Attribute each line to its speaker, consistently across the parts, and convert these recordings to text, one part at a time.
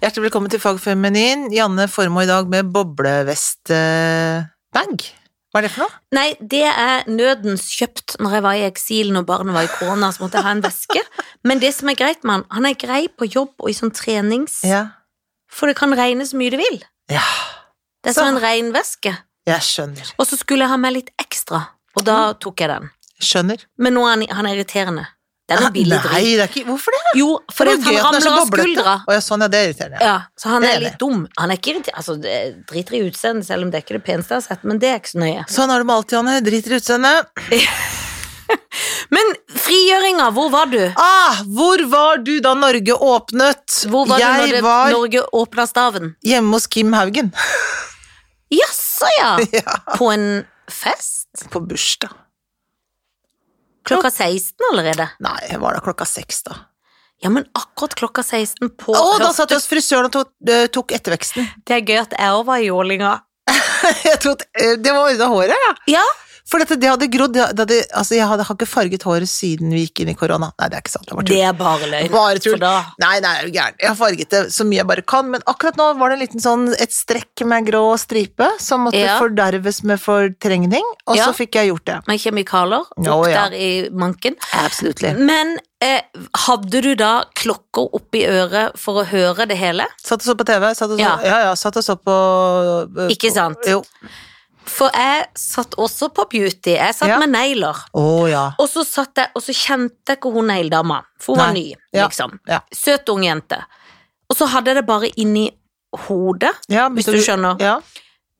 Speaker 1: Hjertelig velkommen til Fagfeminin. Janne Formoe i dag med boblevestbag. Hva er det for noe?
Speaker 2: Nei, det er nødens kjøpt når jeg var i eksil når barnet var i korona, så måtte jeg ha en veske. Men det som er greit med han, han er grei på jobb og i sånn trenings,
Speaker 1: Ja.
Speaker 2: for det kan regne så mye det vil.
Speaker 1: ja.
Speaker 2: Det er
Speaker 1: Så-
Speaker 2: som en regnveske.
Speaker 1: Jeg skjønner.
Speaker 2: Og så skulle jeg ha med litt ekstra, og da
Speaker 1: Mm.
Speaker 2: tok jeg den.
Speaker 1: Skjønner.
Speaker 2: Men nå er han, han er irriterende. Den er billig
Speaker 1: Ah, Nei, det
Speaker 2: dritt.
Speaker 1: er ikke Hvorfor det?
Speaker 2: Jo, fordi
Speaker 1: det
Speaker 2: at han ramler av skuldra.
Speaker 1: Å ja, sånn, ja. Det er irriterende.
Speaker 2: Ja, så han
Speaker 1: Det er
Speaker 2: er
Speaker 1: det.
Speaker 2: litt dum. Han er ikke irriterende, altså det- driter i utseendet, selv om det er ikke det peneste jeg har sett, men det er ikke så nøye.
Speaker 1: Sånn har du med alt, Janne. Driter i utseendet.
Speaker 2: Men frigjøringa, hvor var du?
Speaker 1: Ah, hvor var du da Norge åpnet?
Speaker 2: Hvor var du når
Speaker 1: jeg
Speaker 2: det,
Speaker 1: var
Speaker 2: Norge åpna staven?
Speaker 1: hjemme hos Kim Haugen.
Speaker 2: Jaså, ja!
Speaker 1: ja.
Speaker 2: På en fest?
Speaker 1: På bursdag.
Speaker 2: Klokka 16 allerede?
Speaker 1: Nei, jeg var da klokka seks, da.
Speaker 2: Ja, men akkurat klokka 16 på
Speaker 1: Å, da satt jeg hos frisøren og tok, eh, tok etterveksten.
Speaker 2: Det er gøy at jeg òg var i jålinga.
Speaker 1: Jeg trodde, eh, det var ordna håret, ja.
Speaker 2: Ja.
Speaker 1: For dette, det hadde grodd det hadde, altså, Jeg hadde, har ikke farget håret siden vi gikk inn i korona. Nei, det er ikke sant. Det var
Speaker 2: Det
Speaker 1: tull.
Speaker 2: er bare løgn.
Speaker 1: Bare tull.
Speaker 2: For da
Speaker 1: Nei, nei, er du gæren. Jeg har farget det så mye jeg bare kan, men akkurat nå var det en liten sånn et strekk med grå stripe som måtte
Speaker 2: Ja.
Speaker 1: forderves med fortrengning, og
Speaker 2: Ja.
Speaker 1: så fikk jeg gjort det.
Speaker 2: med kjemikalier opp
Speaker 1: Å, ja.
Speaker 2: der i manken.
Speaker 1: Absolutely.
Speaker 2: Men eh, hadde du da klokker oppi øret for å høre det hele?
Speaker 1: Satt og så på TV. Satt og så, ja.
Speaker 2: Ja.
Speaker 1: ja, satt og så på eh,
Speaker 2: Ikke
Speaker 1: på-
Speaker 2: sant?
Speaker 1: Jo.
Speaker 2: For jeg satt også på beauty. Jeg satt
Speaker 1: Ja.
Speaker 2: med negler.
Speaker 1: Å ja.
Speaker 2: Og så satt jeg, og så kjente jeg ikke hun negledama, for hun var
Speaker 1: Nei.
Speaker 2: ny,
Speaker 1: Ja.
Speaker 2: liksom.
Speaker 1: Ja.
Speaker 2: Søt ung jente. Og så hadde jeg det bare inni hodet,
Speaker 1: ja
Speaker 2: hvis du skjønner.
Speaker 1: Ja.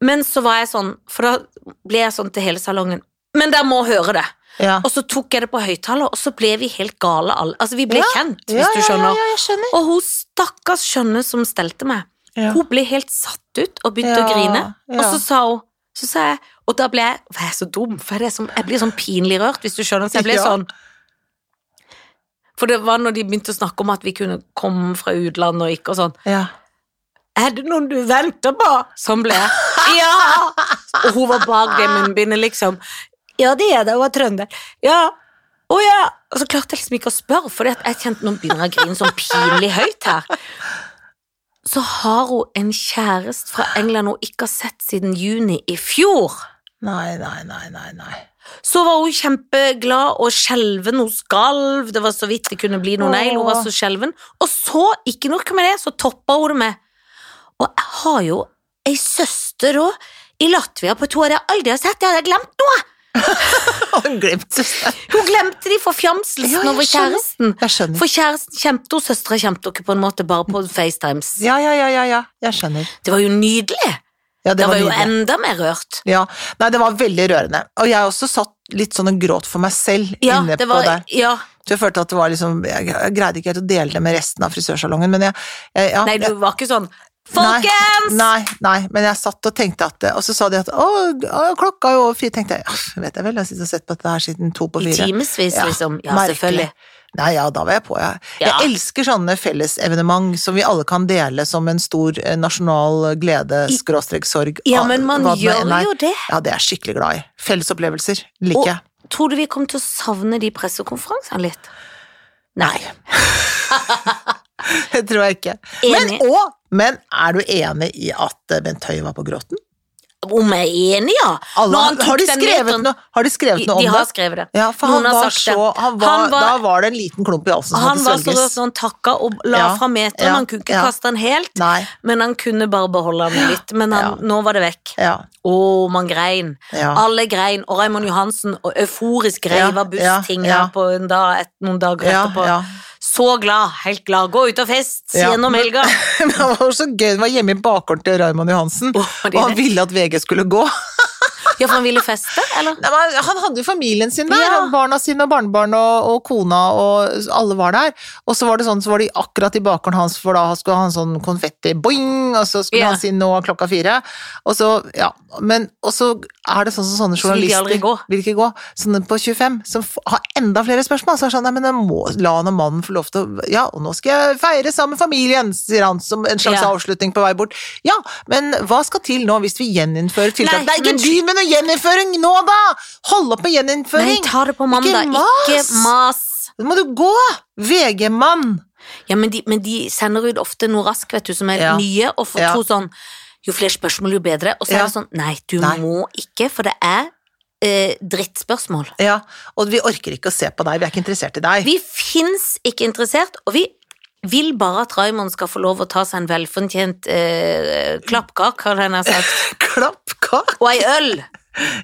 Speaker 2: Men så var jeg sånn, for da ble jeg sånn til hele salongen. Men dere må høre det!
Speaker 1: ja.
Speaker 2: Og så tok jeg det på høyttaler, og så ble vi helt gale alle. Altså, vi ble
Speaker 1: Ja.
Speaker 2: kjent, hvis
Speaker 1: ja,
Speaker 2: du
Speaker 1: Ja, ja,
Speaker 2: skjønner.
Speaker 1: ja, jeg skjønner.
Speaker 2: Og hun stakkars skjønne som stelte meg,
Speaker 1: Ja.
Speaker 2: hun ble helt satt ut og begynte å
Speaker 1: Ja,
Speaker 2: grine.
Speaker 1: ja.
Speaker 2: Og så sa hun så sa jeg, Og da ble jeg For jeg er så dum, for jeg, er sånn- jeg blir sånn pinlig rørt, hvis du skjønner. Så jeg ble
Speaker 1: Ja.
Speaker 2: sånn For det var når de begynte å snakke om at vi kunne komme fra utlandet og ikke og sånn.
Speaker 1: Ja.
Speaker 2: Er det noen du venter på? Sånn ble jeg. Ja! Og hun var bak det munnbindet, liksom. Ja, det er det, hun er trønder. Ja. Å ja! Og så klarte jeg liksom ikke å spørre, for jeg kjente nå begynner jeg å grine sånn pinlig høyt her. Så har hun en kjæreste fra England hun ikke har sett siden juni i fjor.
Speaker 1: Nei, nei, nei, nei, nei.
Speaker 2: Så var hun kjempeglad og skjelven, hun skalv, det var så vidt det kunne bli noen negl, hun var så skjelven. Og så, ikke nok med det, så toppa hun det med. Og jeg har jo ei søster òg, i Latvia, på to år jeg aldri har sett, jeg hadde glemt noe!
Speaker 1: Har hun glemt søsteren?
Speaker 2: Hun glemte de forfjamselsen
Speaker 1: Ja, jeg
Speaker 2: over
Speaker 1: skjønner.
Speaker 2: kjæresten.
Speaker 1: Jeg skjønner.
Speaker 2: For kjæresten kjente hun, søstera kjente hun ikke, på en måte, bare på FaceTimes.
Speaker 1: Ja, ja, ja, ja, ja. Jeg skjønner.
Speaker 2: Det var jo nydelig!
Speaker 1: Ja, det
Speaker 2: da var,
Speaker 1: var
Speaker 2: jo
Speaker 1: nydelig.
Speaker 2: enda mer rørt.
Speaker 1: Ja. Nei, det var veldig rørende. Og jeg også satt litt sånn og gråt for meg selv
Speaker 2: Ja,
Speaker 1: inne
Speaker 2: det
Speaker 1: på
Speaker 2: var
Speaker 1: der.
Speaker 2: ja.
Speaker 1: Så jeg følte at det var liksom Jeg, jeg greide ikke helt å dele det med resten av frisørsalongen, men jeg, jeg ja,
Speaker 2: Nei, du
Speaker 1: jeg-
Speaker 2: var ikke sånn
Speaker 1: Nei,
Speaker 2: Folkens!
Speaker 1: Nei, nei, men jeg satt og tenkte at Og så sa de at å, å, klokka er jo over fire, tenkte jeg. Ja, vet jeg vel, jeg har sittet og sett på dette her siden to på
Speaker 2: I
Speaker 1: fire.
Speaker 2: timevis, liksom. Ja,
Speaker 1: merkelig.
Speaker 2: selvfølgelig.
Speaker 1: Nei, ja, da var jeg på, ja.
Speaker 2: Ja.
Speaker 1: Jeg elsker sånne fellesevenement som vi alle kan dele som en stor eh, nasjonal glede, skråstrek sorg.
Speaker 2: Ja,
Speaker 1: ah,
Speaker 2: men man
Speaker 1: hva det nå
Speaker 2: gjør
Speaker 1: enn er.
Speaker 2: jo det.
Speaker 1: Ja, det er jeg skikkelig glad i. Fellesopplevelser liker
Speaker 2: Og
Speaker 1: jeg.
Speaker 2: tror du vi kommer til å savne de pressekonferansene litt? Nei.
Speaker 1: Det tror jeg ikke. Men,
Speaker 2: Enig.
Speaker 1: og, men er du enig i at eh, Bent Høie var på gråten?
Speaker 2: Om jeg er enig, ja.
Speaker 1: Alle,
Speaker 2: Når han tok
Speaker 1: har, de
Speaker 2: den
Speaker 1: skrevet
Speaker 2: meteren-
Speaker 1: noe, har de skrevet noe om
Speaker 2: De har
Speaker 1: det?
Speaker 2: skrevet det.
Speaker 1: Ja, for han
Speaker 2: Noen har
Speaker 1: var,
Speaker 2: sagt det.
Speaker 1: så, han var,
Speaker 2: Han var-
Speaker 1: Da var det en liten klump i halsen som
Speaker 2: Han var
Speaker 1: måtte
Speaker 2: så rørt
Speaker 1: svelges.
Speaker 2: når han takka og la
Speaker 1: Ja,
Speaker 2: fra meteren.
Speaker 1: ja,
Speaker 2: han kunne ikke
Speaker 1: ja.
Speaker 2: kaste den helt,
Speaker 1: Nei.
Speaker 2: men han kunne bare beholde den litt. Men han, nå var det vekk.
Speaker 1: Ja.
Speaker 2: Å, man grein.
Speaker 1: Ja.
Speaker 2: Alle grein. Og Raymond Johansen og euforisk
Speaker 1: Ja,
Speaker 2: grein var bussting
Speaker 1: ja, ja.
Speaker 2: her på en dag, et, noen dager
Speaker 1: Ja,
Speaker 2: etterpå.
Speaker 1: ja.
Speaker 2: Så glad, helt glad. Gå ut og fest, si
Speaker 1: Ja.
Speaker 2: gjennom helga.
Speaker 1: Men det var så gøy, det var hjemme i bakgården til Raymond Johansen,
Speaker 2: Var
Speaker 1: og
Speaker 2: de
Speaker 1: han
Speaker 2: det?
Speaker 1: ville at VG skulle gå.
Speaker 2: Ja, for han ville feste, eller?
Speaker 1: Nei, men han hadde jo familien sin der,
Speaker 2: Ja.
Speaker 1: og barna sine og barnebarn og, og kona, og alle var der. Og så var det sånn, så var de akkurat i bakgården hans, for da skulle han sånn konfetti, boing, og så skulle
Speaker 2: Ja.
Speaker 1: han si nå er klokka fire. Og så, ja, men, og så er det sånn som sånne
Speaker 2: Så vil de
Speaker 1: journalister
Speaker 2: aldri gå.
Speaker 1: vil ikke gå. Sånne på 25, som f- har enda flere spørsmål, så er det sånn, nei, men jeg må la han og mannen få lov til å, ja, og nå skal jeg feire sammen med familien, sier han, som en slags
Speaker 2: Ja.
Speaker 1: avslutning på vei bort. Ja, men hva skal til nå hvis vi gjeninnfører tiltak?
Speaker 2: Nei,
Speaker 1: det er ikke
Speaker 2: men-
Speaker 1: dyr, men noe gjeninnføring nå da! Hold opp med gjeninnføring!
Speaker 2: Nei, ta det på mandag.
Speaker 1: mas!
Speaker 2: Ikke mas.
Speaker 1: Nå må du gå! VG-mann!
Speaker 2: Ja, men de, men de sender ut ofte noe raskt, vet du, som er
Speaker 1: Ja.
Speaker 2: nye, og får
Speaker 1: Ja.
Speaker 2: tro sånn Jo flere spørsmål, jo bedre. Og så
Speaker 1: Ja.
Speaker 2: er det sånn Nei, du
Speaker 1: Nei.
Speaker 2: må ikke, for det er eh, drittspørsmål.
Speaker 1: Ja, og vi orker ikke å se på deg, vi er ikke interessert i deg.
Speaker 2: Vi fins ikke interessert, og vi vil bare at Raymond skal få lov å ta seg en velfortjent eh, klappkake, hadde jeg nær sagt,
Speaker 1: Klapp, kakk!
Speaker 2: og ei øl.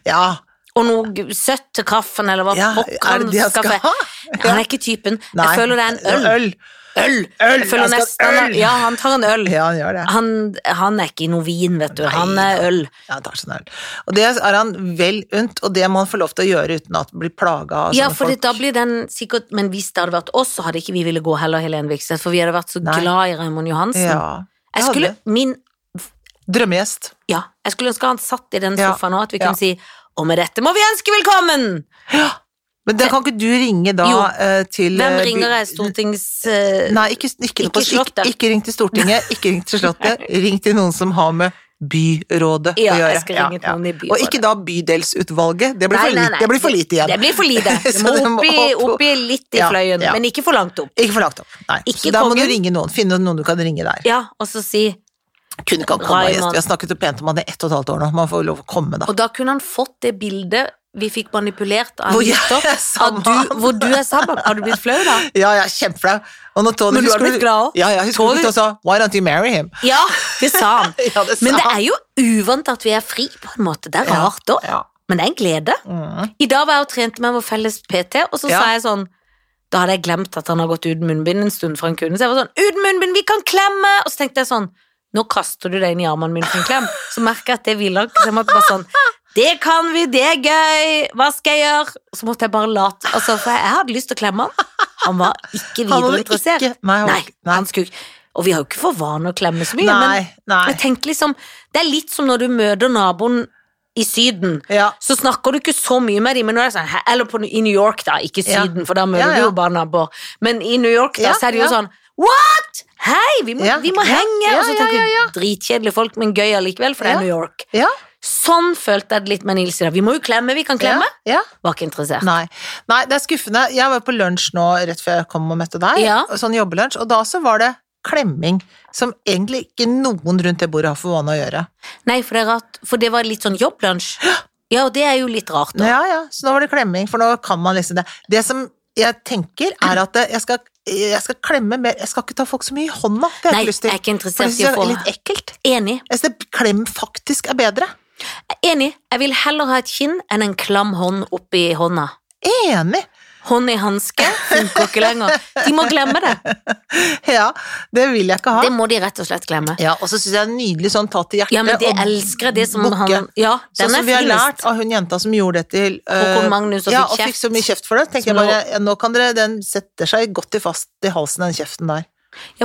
Speaker 1: Ja,
Speaker 2: Og noe g- søtt til kaffen, eller hva
Speaker 1: ja,
Speaker 2: pokker
Speaker 1: er det det jeg skal ha?
Speaker 2: Han er ikke typen.
Speaker 1: Nei,
Speaker 2: Jeg føler det er en øl.
Speaker 1: Øl!
Speaker 2: Øl!
Speaker 1: Øl,
Speaker 2: Jeg føler
Speaker 1: jeg skal ha
Speaker 2: nesten,
Speaker 1: øl.
Speaker 2: Ja, han tar en øl.
Speaker 1: Ja, han gjør det.
Speaker 2: Han, han er ikke noe vin, vet du. Han
Speaker 1: Nei,
Speaker 2: er øl.
Speaker 1: Ja, han tar seg en øl. Og det er han vel unt, og det må han få lov til å gjøre uten at han blir plaga av
Speaker 2: Ja,
Speaker 1: sånne
Speaker 2: for
Speaker 1: folk.
Speaker 2: da blir den sikkert Men hvis det hadde vært oss, så hadde ikke vi ville gå heller, Helene Vikstvedt, for vi hadde vært så
Speaker 1: Nei.
Speaker 2: glad i Raymond Johansen.
Speaker 1: Ja, det
Speaker 2: jeg
Speaker 1: hadde
Speaker 2: skulle
Speaker 1: det.
Speaker 2: min
Speaker 1: Drømmegjest.
Speaker 2: Ja, jeg skulle ønske han satt i den
Speaker 1: Ja,
Speaker 2: sofaen og at vi
Speaker 1: ja.
Speaker 2: kunne si og med dette må vi ønske velkommen!
Speaker 1: Men det kan ikke du ringe da
Speaker 2: Jo.
Speaker 1: eh, til
Speaker 2: Hvem
Speaker 1: eh, by-
Speaker 2: ringer jeg? Stortings... eh,
Speaker 1: Nei, ikke, ikke, noe på,
Speaker 2: Ikke Slottet.
Speaker 1: ikke, ikke ring til Stortinget, ikke ring til Slottet. Ring til noen som har med byrådet
Speaker 2: Ja,
Speaker 1: å gjøre.
Speaker 2: jeg skal ringe til noen i byrådet.
Speaker 1: Og ikke da bydelsutvalget. Det blir, for, lite. Det blir for lite igjen.
Speaker 2: Det blir for lite. Det
Speaker 1: Så
Speaker 2: må
Speaker 1: det må
Speaker 2: oppi,
Speaker 1: opp-
Speaker 2: oppi litt i
Speaker 1: Ja,
Speaker 2: fløyen,
Speaker 1: ja.
Speaker 2: men ikke for langt opp.
Speaker 1: Ikke for langt opp. Nei.
Speaker 2: Ikke
Speaker 1: Så da må du
Speaker 2: kongen.
Speaker 1: ringe noen. Finne noen du kan ringe der.
Speaker 2: Ja, og så si
Speaker 1: Kunne ikke han komme
Speaker 2: Raymond.
Speaker 1: gjest. Vi har snakket så pent om han i ett og et halvt år nå. Man får lov å komme, da.
Speaker 2: Og da kunne han fått det bildet vi fikk manipulert av
Speaker 1: Hvor
Speaker 2: en
Speaker 1: jeg
Speaker 2: lytter,
Speaker 1: er sammen.
Speaker 2: av du- hvor du er sammen. Har du blitt flau, da?
Speaker 1: Ja, jeg er kjempeflau. Og når Tony
Speaker 2: Men du har
Speaker 1: husker
Speaker 2: blitt glad også.
Speaker 1: Ja, ja, husker
Speaker 2: Tony-
Speaker 1: du ikke også? Why don't you marry him?
Speaker 2: Ja, det sa han.
Speaker 1: Ja, det sa
Speaker 2: Men det
Speaker 1: han.
Speaker 2: er jo uvant at vi er fri, på en måte. Det er
Speaker 1: Ja,
Speaker 2: rart òg,
Speaker 1: ja. Mm.
Speaker 2: men det er en glede. I dag var jeg og trente med vår felles PT, og så
Speaker 1: Ja.
Speaker 2: sa jeg sånn Da hadde jeg glemt at han har gått uten munnbind en stund fra en kunde, så jeg var sånn Uten munnbind, vi kan klemme! Og så tenkte jeg sånn Nå kaster du deg inn i armene mine for en klem. Så merker jeg at det ville han ikke, så jeg måtte bare sånn Det kan vi, det er gøy! Hva skal jeg gjøre? Og så måtte jeg bare late Altså, for jeg hadde lyst til å klemme han. Han var ikke
Speaker 1: Han var
Speaker 2: videre interessert.
Speaker 1: ikke- nei, han var
Speaker 2: nei,
Speaker 1: ikke- nei.
Speaker 2: han skulle ikke Og vi har jo ikke for vane å klemme så mye, men
Speaker 1: Nei, nei.
Speaker 2: jeg tenkte liksom, Det er litt som når du møter naboen i Syden.
Speaker 1: Ja.
Speaker 2: Så snakker du ikke så mye med dem, men når det er sånn, "Hæ?" eller på, i New York, da. Ikke
Speaker 1: Ja.
Speaker 2: Syden, for da møter
Speaker 1: Ja, ja.
Speaker 2: du jo bare naboer. Men i New York da,
Speaker 1: Ja,
Speaker 2: så er det jo
Speaker 1: ja.
Speaker 2: sånn What?! Hei, vi må,
Speaker 1: Ja,
Speaker 2: vi må
Speaker 1: ja,
Speaker 2: henge!
Speaker 1: ja,
Speaker 2: og så
Speaker 1: ja,
Speaker 2: tenker du
Speaker 1: ja, ja.
Speaker 2: dritkjedelige folk, men gøy allikevel, for det
Speaker 1: Ja.
Speaker 2: er New York.
Speaker 1: Ja,
Speaker 2: Sånn følte jeg det litt med Nils i dag. Vi må jo klemme, vi kan klemme.
Speaker 1: Ja, ja.
Speaker 2: Var ikke interessert.
Speaker 1: Nei. Nei, det er skuffende. Jeg var på lunsj nå rett før jeg kom og møtte deg,
Speaker 2: Ja.
Speaker 1: sånn jobbelunsj, og da så var det klemming, som egentlig ikke noen rundt det bordet har for vane å gjøre.
Speaker 2: Nei, for det er rart, for det var litt sånn jobblunsj. Ja, og det er jo litt rart, da.
Speaker 1: Ja, ja, så nå var det klemming, for nå kan man liksom det. Det som jeg tenker er at jeg skal, jeg skal klemme mer, jeg skal ikke ta folk så mye i hånda, det har
Speaker 2: Nei,
Speaker 1: jeg ikke lyst
Speaker 2: jeg er
Speaker 1: til.
Speaker 2: ikke
Speaker 1: For det
Speaker 2: interessert i å
Speaker 1: synes jeg
Speaker 2: få
Speaker 1: er litt ekkelt.
Speaker 2: Enig.
Speaker 1: Jeg synes klem faktisk er bedre.
Speaker 2: Enig. Jeg vil heller ha et kinn enn en klam hånd oppi hånda.
Speaker 1: Enig!
Speaker 2: Hånd i hanske funker ikke lenger. De må glemme det.
Speaker 1: Ja, det vil jeg ikke ha.
Speaker 2: Det må de rett og slett glemme.
Speaker 1: Ja, og så synes jeg det er nydelig sånn tatt til hjertet.
Speaker 2: Ja, men det
Speaker 1: og
Speaker 2: elsker jeg. Det som
Speaker 1: bukke.
Speaker 2: han Ja,
Speaker 1: Sånn
Speaker 2: den
Speaker 1: som
Speaker 2: er
Speaker 1: vi har
Speaker 2: finest.
Speaker 1: lært av hun jenta som gjorde det til
Speaker 2: Håkon
Speaker 1: eh,
Speaker 2: Magnus og
Speaker 1: ja,
Speaker 2: fikk
Speaker 1: og fikk så mye kjeft for det. Tenkte
Speaker 2: Som
Speaker 1: jeg bare, ja, nå kan dere, Den setter seg godt i fast i halsen, den kjeften der.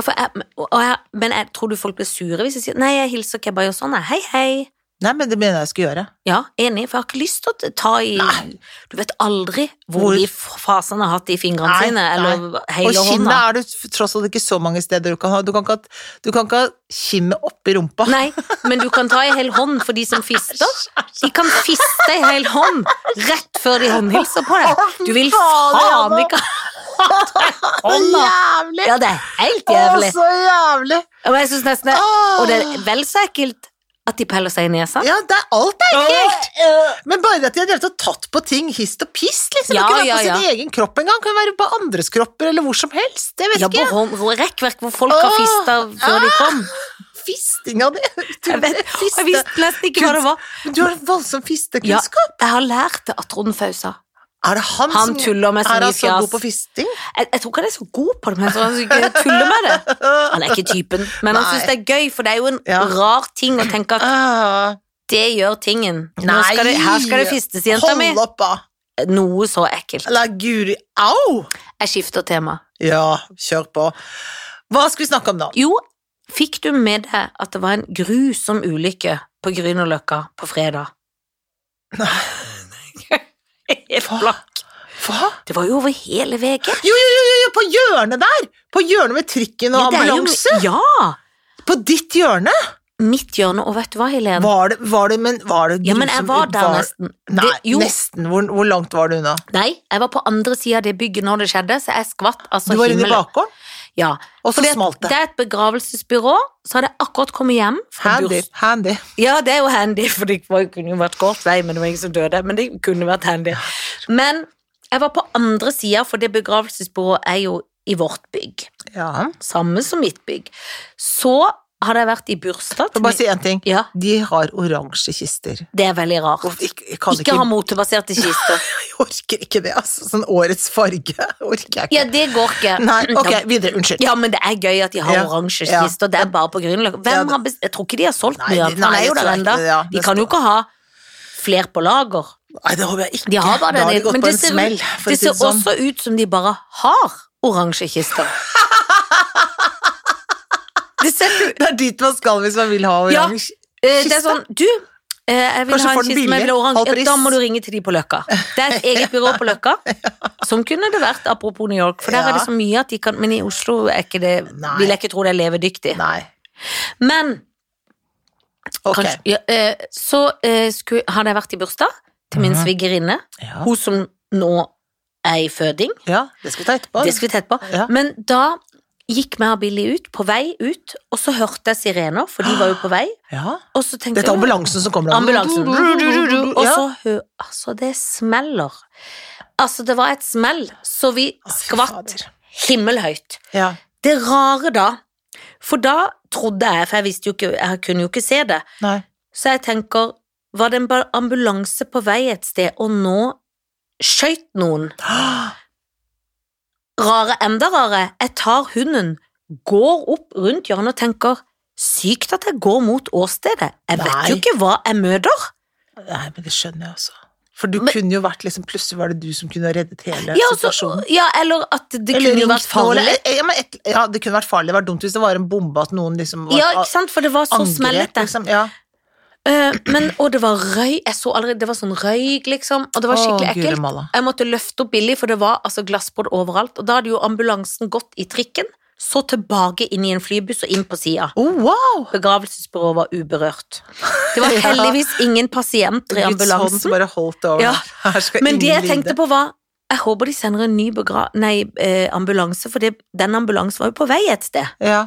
Speaker 2: Ja, for jeg, og jeg, men jeg tror du folk blir sure hvis jeg sier nei, jeg hilser ikke, jeg bare gjør sånn, jeg. Hei, hei.
Speaker 1: Nei, men det mener jeg skulle gjøre.
Speaker 2: Ja, enig, for jeg har ikke lyst til å ta i
Speaker 1: Nei.
Speaker 2: Du vet aldri hvor,
Speaker 1: Hvor-
Speaker 2: de fasene har hatt i fingrene
Speaker 1: Nei,
Speaker 2: sine, eller
Speaker 1: Og
Speaker 2: hele
Speaker 1: kinnet
Speaker 2: hånda.
Speaker 1: er det f- tross alt ikke så mange steder du kan ha. Du kan ikke ha, du kan ikke ha kinnet oppi rumpa.
Speaker 2: Nei, men du kan ta i hel hånd for de som fister. De kan fiste i hel hånd rett før de håndhilser på deg. Du vil faen ikke ha hånda.
Speaker 1: jævlig!
Speaker 2: Ja, det er helt
Speaker 1: Å,
Speaker 2: jævlig.
Speaker 1: så jævlig!
Speaker 2: Og jeg synes nesten det, Og det er vel så ekkelt at de peller seg i nesa.
Speaker 1: Ja, det er alt er ekkelt! Men bare at de har drevet og tatt på ting hist og pist, liksom.
Speaker 2: øh. Ja,
Speaker 1: det kunne være
Speaker 2: ja,
Speaker 1: på sin
Speaker 2: ja.
Speaker 1: egen kropp engang. Kunne være på andres kropper eller hvor som helst. Det vet
Speaker 2: Ja, på
Speaker 1: ikke jeg.
Speaker 2: hånd, hvor rekkverk hvor folk har
Speaker 1: Åh, Ah,
Speaker 2: fista før de kom.
Speaker 1: Fistinga di!
Speaker 2: Jeg, vet, jeg visste nesten ikke hva det var.
Speaker 1: Men Du har en voldsom
Speaker 2: Ja,
Speaker 1: fistekunnskap.
Speaker 2: jeg har lært det av Trond Fausa.
Speaker 1: Er det han,
Speaker 2: Han
Speaker 1: som
Speaker 2: tuller med så
Speaker 1: Er
Speaker 2: mye
Speaker 1: han så
Speaker 2: fjas.
Speaker 1: god på fisting?
Speaker 2: Jeg, jeg tror ikke han er så god på det, men jeg tror han så ikke tuller med det. Han er ikke typen, men han
Speaker 1: Nei.
Speaker 2: syns det er gøy, for det er jo en
Speaker 1: Ja.
Speaker 2: rar ting å tenke at
Speaker 1: Ah,
Speaker 2: det gjør tingen.
Speaker 1: Altså,
Speaker 2: Nå skal det, her skal det fistes, jenta mi.
Speaker 1: Hold opp, da!
Speaker 2: Noe så ekkelt.
Speaker 1: La guri Au!
Speaker 2: Jeg skifter tema.
Speaker 1: Ja, kjør på. Hva skal vi snakke om nå?
Speaker 2: Jo, fikk du med deg at det var en grusom ulykke på Grünerløkka på fredag? Helt blakk.
Speaker 1: Hva?
Speaker 2: Det var jo over hele VG.
Speaker 1: Jo, jo, jo, jo, jo, på hjørnet der! På hjørnet med trikken og
Speaker 2: Ja, det er jo-
Speaker 1: ambulanse!
Speaker 2: Ja!
Speaker 1: På ditt hjørne!
Speaker 2: Mitt hjørne, og vet du hva, Helene?
Speaker 1: Var det, var det, men var det
Speaker 2: Ja, men jeg
Speaker 1: grusomt-
Speaker 2: var der nesten.
Speaker 1: Nei,
Speaker 2: Det, jo,
Speaker 1: nesten. Hvor, hvor langt var du unna?
Speaker 2: nei, jeg var på andre siden av det bygget når det skjedde, så jeg skvatt altså
Speaker 1: Du var inne i
Speaker 2: himmelen.
Speaker 1: bakgården?
Speaker 2: Ja.
Speaker 1: Og så
Speaker 2: Fordi at
Speaker 1: smalt det.
Speaker 2: Det er et begravelsesbyrå, så hadde jeg akkurat kommet hjem fra
Speaker 1: Handy.
Speaker 2: burs.
Speaker 1: handy.
Speaker 2: Ja, det er jo handy, for det var- kunne jo vært kort vei, men det var ingen som døde. Men det kunne vært handy. Men jeg var på andre sida, for det begravelsesbyrået er jo i vårt bygg.
Speaker 1: Ja.
Speaker 2: Samme som mitt bygg. Så hadde jeg vært i bursdag
Speaker 1: Får
Speaker 2: til
Speaker 1: bare
Speaker 2: min-
Speaker 1: si én ting.
Speaker 2: Ja,
Speaker 1: De har oransje kister.
Speaker 2: det er veldig rart.
Speaker 1: Hvorfor- Jeg, jeg kan
Speaker 2: Ikke,
Speaker 1: ikke,
Speaker 2: ha motebaserte kister.
Speaker 1: Jeg orker ikke det, altså. Sånn årets farge orker jeg ikke.
Speaker 2: Ja, det går ikke.
Speaker 1: Nei, ok, videre. Unnskyld.
Speaker 2: Ja, men det er gøy at de har
Speaker 1: Ja,
Speaker 2: oransje
Speaker 1: ja.
Speaker 2: kister. Det er bare på
Speaker 1: Ja,
Speaker 2: Grünerløkka. Hvem
Speaker 1: det-
Speaker 2: har best... Jeg tror ikke de har solgt
Speaker 1: Nei,
Speaker 2: mye.
Speaker 1: de-
Speaker 2: for Han
Speaker 1: nei,
Speaker 2: er jo
Speaker 1: jeg
Speaker 2: der
Speaker 1: tror
Speaker 2: ennå.
Speaker 1: ikke det, ja.
Speaker 2: De
Speaker 1: Det
Speaker 2: kan jo
Speaker 1: står-
Speaker 2: ikke ha fler på lager.
Speaker 1: Nei, det håper jeg ikke.
Speaker 2: De har bare
Speaker 1: da har de
Speaker 2: den
Speaker 1: gått
Speaker 2: men
Speaker 1: på
Speaker 2: det
Speaker 1: en
Speaker 2: ser, ut-
Speaker 1: smell, for å
Speaker 2: det
Speaker 1: si
Speaker 2: ser
Speaker 1: det sånn.
Speaker 2: også ut som de bare har oransje kister. Det ser du
Speaker 1: Det er dit man skal hvis man vil ha
Speaker 2: Ja,
Speaker 1: oransje.
Speaker 2: eh, Det er
Speaker 1: Kiste?
Speaker 2: sånn, du eh, jeg vil
Speaker 1: Kanskje
Speaker 2: ha
Speaker 1: får
Speaker 2: en
Speaker 1: den
Speaker 2: kiste med
Speaker 1: billig,
Speaker 2: vel oransje.
Speaker 1: halv pris.
Speaker 2: Ja, Da må du ringe til de på Løkka. Det er et eget byrå på Løkka. Som kunne det vært, apropos New York, for der
Speaker 1: Ja.
Speaker 2: er det så mye at de kan Men i Oslo er ikke det,
Speaker 1: Nei.
Speaker 2: vil jeg ikke tro det er levedyktig.
Speaker 1: Nei.
Speaker 2: Men
Speaker 1: Ok.
Speaker 2: kanskje, ja, eh, så eh, skulle, hadde jeg vært i bursdag til min
Speaker 1: Mhm.
Speaker 2: svigerinne,
Speaker 1: Ja.
Speaker 2: hun som nå er i føding.
Speaker 1: ja, det skal vi ta etterpå.
Speaker 2: Det skal vi tett på.
Speaker 1: Ja.
Speaker 2: Men da gikk vi og Billy ut, på vei ut, og så hørte jeg sirener, for de var jo på vei.
Speaker 1: Ja.
Speaker 2: Og så tenkte
Speaker 1: Dette er ambulansen som kommer.
Speaker 2: ambulansen. Og
Speaker 1: Ja.
Speaker 2: så hø- Altså, det smeller. Altså, det var et smell, så vi
Speaker 1: Å, fy
Speaker 2: skvatt
Speaker 1: fader.
Speaker 2: himmelhøyt.
Speaker 1: Ja.
Speaker 2: Det rare da, for da trodde jeg, for jeg visste jo ikke, jeg kunne jo ikke se det,
Speaker 1: Nei.
Speaker 2: så jeg tenker, var det en ba- ambulanse på vei et sted, og nå skjøt noen? Rare, enda rare, jeg tar hunden, går opp rundt hjørnet og tenker, sykt at jeg går mot åstedet. Jeg vet
Speaker 1: Nei.
Speaker 2: jo ikke hva jeg møter.
Speaker 1: Nei, men det skjønner jeg også. For du
Speaker 2: Men-
Speaker 1: kunne jo vært liksom Plutselig var det du som kunne ha reddet hele
Speaker 2: Ja, så-
Speaker 1: situasjonen.
Speaker 2: ja, eller at det
Speaker 1: Eller
Speaker 2: kunne jo
Speaker 1: ringt
Speaker 2: vært farlig.
Speaker 1: noen- Ja, men et, ja, det kunne vært farlig. Det var dumt hvis det var en bombe at noen liksom var
Speaker 2: Ja, ikke sant, for det var så smellete.
Speaker 1: liksom. Ja.
Speaker 2: Eh, men, og det var røy, jeg så allerede, det var sånn røyk liksom, og det var skikkelig
Speaker 1: Å,
Speaker 2: ekkelt.
Speaker 1: Guri malla.
Speaker 2: Jeg måtte løfte opp Billy, for det var altså glassbrudd overalt. Og da hadde jo ambulansen gått i trikken, så tilbake inn i en flybuss og inn på sida.
Speaker 1: Å, Oh, wow!
Speaker 2: Begravelsesbyrået var uberørt. Det var
Speaker 1: Ja.
Speaker 2: heldigvis ingen pasienter i
Speaker 1: Guds hånd som
Speaker 2: ambulansen.
Speaker 1: bare holdt det over.
Speaker 2: Ja,
Speaker 1: Her skal
Speaker 2: Men det
Speaker 1: ingen
Speaker 2: jeg tenkte
Speaker 1: lide.
Speaker 2: på var jeg håper de sender en ny begra nei, eh, ambulanse, for det, den ambulansen var jo på vei et sted.
Speaker 1: Ja,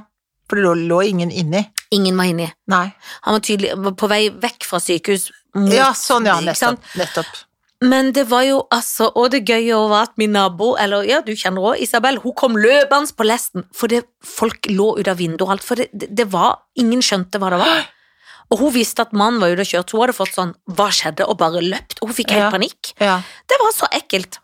Speaker 1: for det lå, lå ingen inni.
Speaker 2: Ingen var inni.
Speaker 1: Nei.
Speaker 2: Han var tydelig var på vei vekk fra sykehus. mot-
Speaker 1: Ja, sånn, ja.
Speaker 2: ikke sant?
Speaker 1: Nettopp. nettopp.
Speaker 2: Men det var jo altså Og det gøye også var at min nabo, eller ja, du kjenner òg Isabel, hun kom løpende på lesten, for det, folk lå ut av vinduet og alt, for det, det, det var Ingen skjønte hva det var. Og hun visste at mannen var ute og kjørte, så hun hadde fått sånn Hva skjedde? Og bare løpt. Hun fikk helt
Speaker 1: Ja.
Speaker 2: panikk.
Speaker 1: Ja.
Speaker 2: Det var så ekkelt.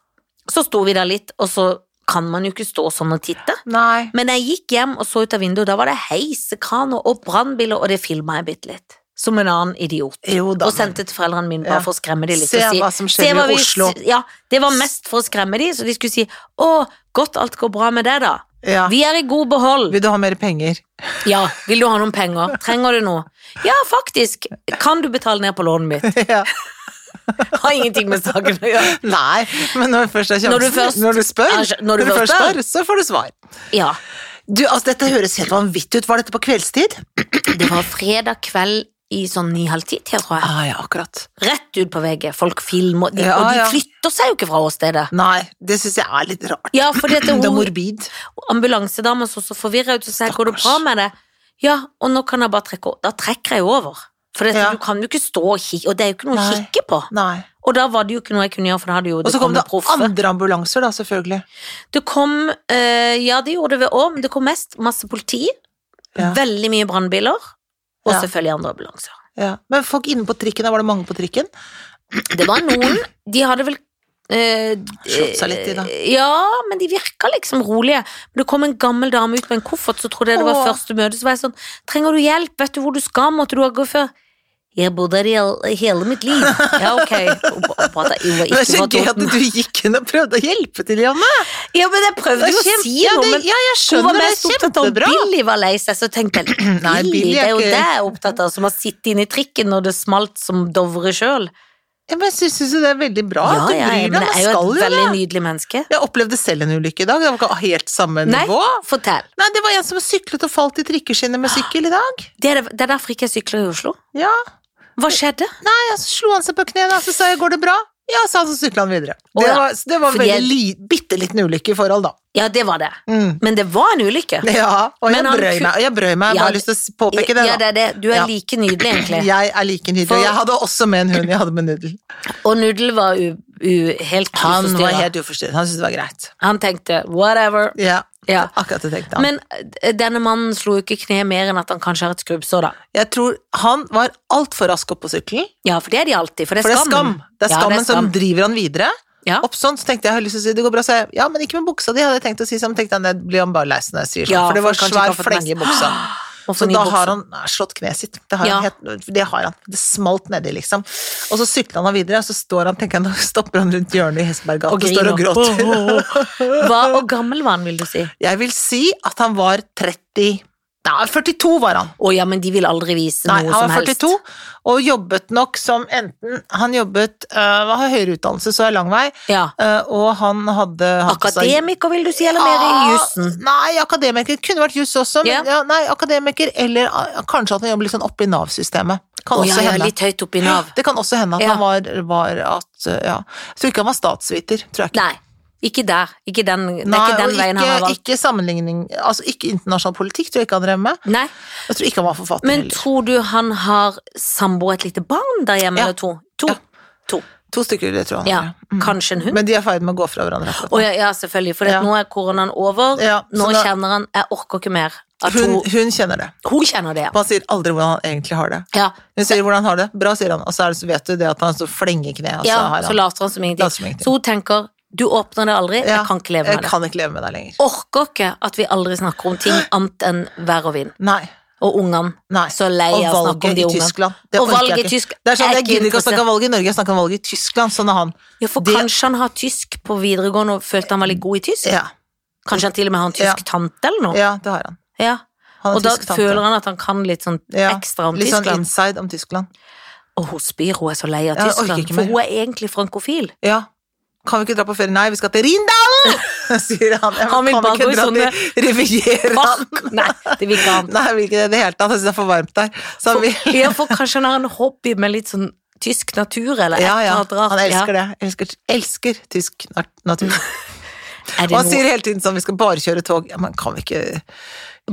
Speaker 2: Så sto vi der litt, og så kan man jo ikke stå sånn og titte.
Speaker 1: Nei.
Speaker 2: Men jeg gikk hjem og så ut av vinduet, og da var det heisekraner og brannbiler, og det filma jeg bitte litt. Som en annen idiot.
Speaker 1: Jo da.
Speaker 2: Og sendte til foreldrene mine bare
Speaker 1: Ja.
Speaker 2: for å skremme dem litt.
Speaker 1: Se
Speaker 2: og si,
Speaker 1: hva som skjer
Speaker 2: «Se
Speaker 1: i
Speaker 2: vi-
Speaker 1: Oslo».
Speaker 2: Ja, det var mest for å skremme dem, så de skulle si 'Å, godt alt går bra med deg, da'.
Speaker 1: men- ja.
Speaker 2: Vi er i god behold.
Speaker 1: Vil du ha mer penger?
Speaker 2: Ja, vil du ha noen penger? Trenger du noe? Ja, faktisk. Kan du betale ned på lånet mitt?
Speaker 1: ja.
Speaker 2: Har ingenting med saken å gjøre.
Speaker 1: Nei, men når, først er sjansen,
Speaker 2: Når du først-
Speaker 1: spør,
Speaker 2: Ja, når du først spør.
Speaker 1: så får du svar.
Speaker 2: Ja.
Speaker 1: Du, altså, dette høres helt vanvittig ut. Var dette på kveldstid?
Speaker 2: Det var fredag kveld i sånn ni-halv ti, tror jeg.
Speaker 1: Ah, ja, akkurat.
Speaker 2: rett ut på VG. Folk filmer, de,
Speaker 1: Ja,
Speaker 2: og de
Speaker 1: ja.
Speaker 2: flytter seg jo ikke fra åstedet.
Speaker 1: Nei, det syns jeg er litt rart.
Speaker 2: Ja, fordi at
Speaker 1: Det er
Speaker 2: hun,
Speaker 1: morbid.
Speaker 2: ambulansedama så så forvirra ut, og sa jeg, går det
Speaker 1: Stakkars.
Speaker 2: bra med det? Ja, og nå kan jeg bare trekke over. Da trekker jeg jo over. For det,
Speaker 1: Ja.
Speaker 2: du kan jo ikke stå og kikke, og det er jo ikke noe å
Speaker 1: Nei.
Speaker 2: kikke på.
Speaker 1: Nei.
Speaker 2: Og da var det jo ikke noe jeg kunne gjøre, for da hadde jo
Speaker 1: Og så kom det
Speaker 2: proffe.
Speaker 1: andre ambulanser, da, selvfølgelig.
Speaker 2: Det kom, eh, ja det gjorde det ved år, men det kom mest masse politi,
Speaker 1: Ja.
Speaker 2: veldig mye brannbiler, og
Speaker 1: Ja.
Speaker 2: selvfølgelig andre ambulanser.
Speaker 1: Ja. Men folk inne på trikken, da var det mange på trikken?
Speaker 2: Det var noen De hadde vel eh,
Speaker 1: Slått seg litt i det.
Speaker 2: eh, Ja, men de virka liksom rolige. Men det kom en gammel dame ut med en koffert, så trodde jeg det
Speaker 1: Åh.
Speaker 2: var første møte. Så var jeg sånn Trenger du hjelp? Vet du hvor du skal? Måtte du ha gått før? Jeg bodde her i hel- hele mitt liv. Ja, ok. Hun ba- hun pratet- hun var
Speaker 1: Det er så
Speaker 2: ikke fra
Speaker 1: gøy at
Speaker 2: Toten.
Speaker 1: du gikk inn og prøvde å hjelpe til, Janne.
Speaker 2: Ja, men jeg prøvde jo å
Speaker 1: kjempe-
Speaker 2: si
Speaker 1: ja,
Speaker 2: noe,
Speaker 1: det-
Speaker 2: men
Speaker 1: ja, jeg
Speaker 2: hun
Speaker 1: skjønner
Speaker 2: var
Speaker 1: det.
Speaker 2: mest opptatt av om
Speaker 1: Kjempebra.
Speaker 2: Billy var lei seg, så tenkte jeg Billy,
Speaker 1: Nei, Billy
Speaker 2: det
Speaker 1: er
Speaker 2: er jo
Speaker 1: ikke-
Speaker 2: det jeg er opptatt av, som har sittet inne i trikken når det smalt som Dovre sjøl.
Speaker 1: Ja, men jeg syns jo det er veldig bra
Speaker 2: ja,
Speaker 1: at du
Speaker 2: ja,
Speaker 1: bryr
Speaker 2: ja,
Speaker 1: deg.
Speaker 2: men
Speaker 1: Man
Speaker 2: jeg er
Speaker 1: skal
Speaker 2: jo et
Speaker 1: jo det.
Speaker 2: veldig nydelig menneske.
Speaker 1: Jeg opplevde selv en ulykke i dag. Det var ikke helt samme
Speaker 2: Nei,
Speaker 1: nivå.
Speaker 2: fortell.
Speaker 1: Nei, det var en som syklet og falt i trikkeskinnet med sykkel i dag.
Speaker 2: Det er, det er derfor ikke jeg sykler i Oslo.
Speaker 1: Ja.
Speaker 2: Hva skjedde?
Speaker 1: Nei, så slo han seg på kne, da, så sa jeg 'går det bra'? Ja, så han sykla han videre.
Speaker 2: Å,
Speaker 1: Det
Speaker 2: ja.
Speaker 1: var, så det var
Speaker 2: Fordi jeg-
Speaker 1: veldig li, bitte liten ulykke i forhold, da.
Speaker 2: Ja, det var det.
Speaker 1: Mm.
Speaker 2: Men det var en ulykke.
Speaker 1: Ja, og jeg
Speaker 2: Men han
Speaker 1: brøy
Speaker 2: ku-
Speaker 1: meg. Jeg brøy meg, jeg bare
Speaker 2: Ja,
Speaker 1: har lyst til å s- påpeke det,
Speaker 2: Ja, det
Speaker 1: da.
Speaker 2: er det. Du er
Speaker 1: Ja.
Speaker 2: like nydelig, egentlig.
Speaker 1: Jeg er like nydelig.
Speaker 2: For-
Speaker 1: Jeg hadde også med en hund jeg hadde med Nudel.
Speaker 2: Og Nudel var u, u, helt
Speaker 1: Han var
Speaker 2: uforstyrra.
Speaker 1: helt uforstyrret. Han syntes det var greit.
Speaker 2: Han tenkte whatever.
Speaker 1: Ja,
Speaker 2: Ja.
Speaker 1: akkurat det tenkte han.
Speaker 2: Men eh, denne mannen slo jo ikke kneet mer enn at han kanskje har et skrubbsår, da.
Speaker 1: jeg tror han var altfor rask opp på sykkelen,
Speaker 2: Ja, for det er de alltid. For det
Speaker 1: for
Speaker 2: er
Speaker 1: det er skam.
Speaker 2: skammen.
Speaker 1: Det er
Speaker 2: Ja,
Speaker 1: skammen som driver han videre.
Speaker 2: Ja.
Speaker 1: Opp sånn, så tenkte jeg, jeg har lyst til å si, det går bra, så jeg, ja, men ikke med buksa di, hadde jeg tenkt å si, så men tenkte han, det blir han bare leis når jeg sier sånn,
Speaker 2: Ja,
Speaker 1: for det var
Speaker 2: for kanskje
Speaker 1: svær
Speaker 2: ikke har fått
Speaker 1: flenge i
Speaker 2: med
Speaker 1: buksa.
Speaker 2: Og
Speaker 1: Så
Speaker 2: for ny
Speaker 1: da
Speaker 2: bukse.
Speaker 1: har han nei, slått kneet sitt. Det har,
Speaker 2: Ja.
Speaker 1: han helt, det har han. Det smalt nedi, liksom. Og så sykler han videre, og så står han, tenker jeg, nå stopper han rundt hjørnet i Hesberggata og, står og gråter.
Speaker 2: Hva, og gammel var han, vil du si?
Speaker 1: Jeg vil si at han var 30 Nei, 42 var han.
Speaker 2: Å ja, men de vil aldri vise
Speaker 1: Nei,
Speaker 2: noe
Speaker 1: han
Speaker 2: som
Speaker 1: var
Speaker 2: helst.
Speaker 1: 42, og jobbet nok som enten Han jobbet øh, Han har høyere utdannelse, så er lang vei,
Speaker 2: Ja.
Speaker 1: øh, og han hadde hatt seg-
Speaker 2: Akademiker, vil du si, eller mer i jussen?
Speaker 1: Ah, Nei, akademiker. Kunne vært juss også, men
Speaker 2: Ja.
Speaker 1: ja, nei, akademiker, eller ah, kanskje at han jobber litt sånn oppe i Nav-systemet. Kan
Speaker 2: Å
Speaker 1: også
Speaker 2: ja, ja,
Speaker 1: hende.
Speaker 2: litt høyt opp i Nav.
Speaker 1: Det kan også hende at
Speaker 2: Ja.
Speaker 1: han var, var at, uh, ja. Jeg tror ikke han var statsviter. Tror jeg ikke.
Speaker 2: Nei, ikke der. Ikke den, det er ikke
Speaker 1: og
Speaker 2: den veien han har valgt.
Speaker 1: ikke sammenligning Altså ikke internasjonal politikk, tror jeg ikke han drev med.
Speaker 2: Nei,
Speaker 1: Jeg tror ikke han var forfatter
Speaker 2: Men
Speaker 1: heller.
Speaker 2: tror du han har samboer et lite barn der hjemme,
Speaker 1: Ja.
Speaker 2: eller to? To.
Speaker 1: Ja.
Speaker 2: to.
Speaker 1: To stykker, det tror jeg han
Speaker 2: Ja.
Speaker 1: var, ja. Mm.
Speaker 2: Kanskje en hund?
Speaker 1: Men de er i ferd med å gå fra hverandre. akkurat
Speaker 2: Å
Speaker 1: nå.
Speaker 2: ja, ja, selvfølgelig, for det at
Speaker 1: Ja.
Speaker 2: nå er koronaen over.
Speaker 1: Ja, så
Speaker 2: nå
Speaker 1: da-
Speaker 2: kjenner han 'jeg orker ikke mer'. At
Speaker 1: Hun,
Speaker 2: hun,
Speaker 1: hun kjenner det.
Speaker 2: hun kjenner det, ja.
Speaker 1: Man sier aldri hvordan han egentlig har det.
Speaker 2: ja.
Speaker 1: Hun sier hvordan han har det, bra, sier han, og så, er det, så vet du det at han står flenge i kneet. og så Altså, har
Speaker 2: ja
Speaker 1: han-
Speaker 2: så later han som
Speaker 1: Later som
Speaker 2: ingenting.
Speaker 1: ingenting.
Speaker 2: Så hun tenker 'du åpner det aldri,
Speaker 1: Ja,
Speaker 2: jeg kan ikke leve med
Speaker 1: Jeg
Speaker 2: det'.
Speaker 1: kan ikke leve med deg lenger.
Speaker 2: Orker ikke at vi aldri snakker om ting annet enn vær og vind.
Speaker 1: Nei.
Speaker 2: Og ungene.
Speaker 1: Nei.
Speaker 2: Så lei
Speaker 1: Og
Speaker 2: av å snakke om
Speaker 1: valget
Speaker 2: de
Speaker 1: i
Speaker 2: ungene.
Speaker 1: Tyskland. Det
Speaker 2: Og
Speaker 1: orker jeg
Speaker 2: valget i
Speaker 1: ikke.
Speaker 2: Tysk-
Speaker 1: Det er sånn,
Speaker 2: er
Speaker 1: Jeg
Speaker 2: ikke
Speaker 1: gidder ikke å snakke
Speaker 2: interessert.
Speaker 1: om valget i Norge, jeg snakker om valget i Tyskland. Sånn er han.
Speaker 2: Ja, for
Speaker 1: Det-
Speaker 2: kanskje han har tysk på videregående og følte han var litt god i tysk?
Speaker 1: Ja,
Speaker 2: Kanskje han til og med har en
Speaker 1: Ja.
Speaker 2: tysk tante eller noe?
Speaker 1: ja det har han.
Speaker 2: Ja.
Speaker 1: han
Speaker 2: Og da føler han at han kan litt sånn ekstra om
Speaker 1: Litt sånn
Speaker 2: Tyskland.
Speaker 1: inside om Tyskland.
Speaker 2: Og hun spyr, hun er så lei av
Speaker 1: Ja, jeg orker
Speaker 2: Tyskland,
Speaker 1: ikke mer.
Speaker 2: for hun er egentlig frankofil.
Speaker 1: Ja. Kan vi ikke dra på ferie? Nei, vi skal til Rindalen! sier han. Ja, men
Speaker 2: Han vil
Speaker 1: kan vi
Speaker 2: bare
Speaker 1: ikke
Speaker 2: gå i
Speaker 1: dra
Speaker 2: sånne
Speaker 1: til Rivieraen?
Speaker 2: Fuck! Nei, det vil ikke han.
Speaker 1: Nei, jeg vil ikke det i det hele tatt. Jeg syns det er for varmt der. Så han vil
Speaker 2: Ja, for kanskje han har en hobby med litt sånn tysk natur, eller
Speaker 1: ja, ja.
Speaker 2: et eller annet rart.
Speaker 1: Han elsker det. Elsker, elsker tysk nat- natur.
Speaker 2: Mm, Er
Speaker 1: Og
Speaker 2: det
Speaker 1: han
Speaker 2: noe
Speaker 1: sier hele tiden sånn, vi skal bare kjøre tog. Ja, men kan vi ikke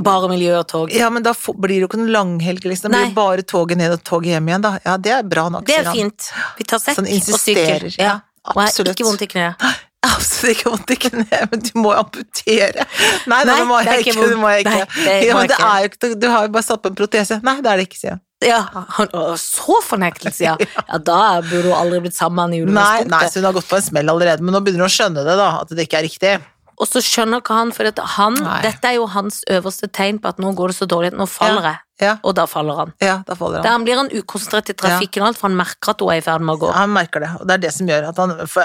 Speaker 2: bare miljø og tog?
Speaker 1: Ja, men da får- blir det jo ikke noen langhelg, liksom. Det blir
Speaker 2: Nei.
Speaker 1: jo bare toget ned og toget hjem igjen, da. Ja, det er bra nok,
Speaker 2: Det
Speaker 1: sier
Speaker 2: er
Speaker 1: han.
Speaker 2: fint. Vi tar sekk
Speaker 1: Sånn
Speaker 2: og sykkel.
Speaker 1: insisterer. Ja,
Speaker 2: Og jeg har
Speaker 1: absolutt.
Speaker 2: ikke vondt i kneet.
Speaker 1: Absolutt ikke vondt i kneet, men du må jo amputere. Nei, nei,
Speaker 2: Nei,
Speaker 1: det må
Speaker 2: det er
Speaker 1: jeg
Speaker 2: ikke
Speaker 1: ikke. Det må jeg
Speaker 2: vondt.
Speaker 1: ikke.
Speaker 2: Nei, det
Speaker 1: ja,
Speaker 2: må
Speaker 1: men
Speaker 2: jeg
Speaker 1: det er jo ikke, du har jo bare satt på en protese. Nei, det er det ikke, sier jeg.
Speaker 2: Ja, han, å, så fornektelse, ja. ja. Da burde hun aldri blitt sammen i
Speaker 1: Nei, nei,
Speaker 2: julemusikk.
Speaker 1: så hun har gått på en smell allerede, men nå begynner hun å skjønne det, da. At det ikke er riktig.
Speaker 2: Og så skjønner ikke han, for at han,
Speaker 1: Nei.
Speaker 2: dette er jo hans øverste tegn på at nå går det så dårlig, at nå faller jeg.
Speaker 1: Ja,
Speaker 2: Og da faller han.
Speaker 1: ja da faller
Speaker 2: Der
Speaker 1: han.
Speaker 2: han blir han ukonsentrert i trafikken og alt, for han merker at hun er i ferd med å gå.
Speaker 1: Han merker det, og det er det som gjør at han For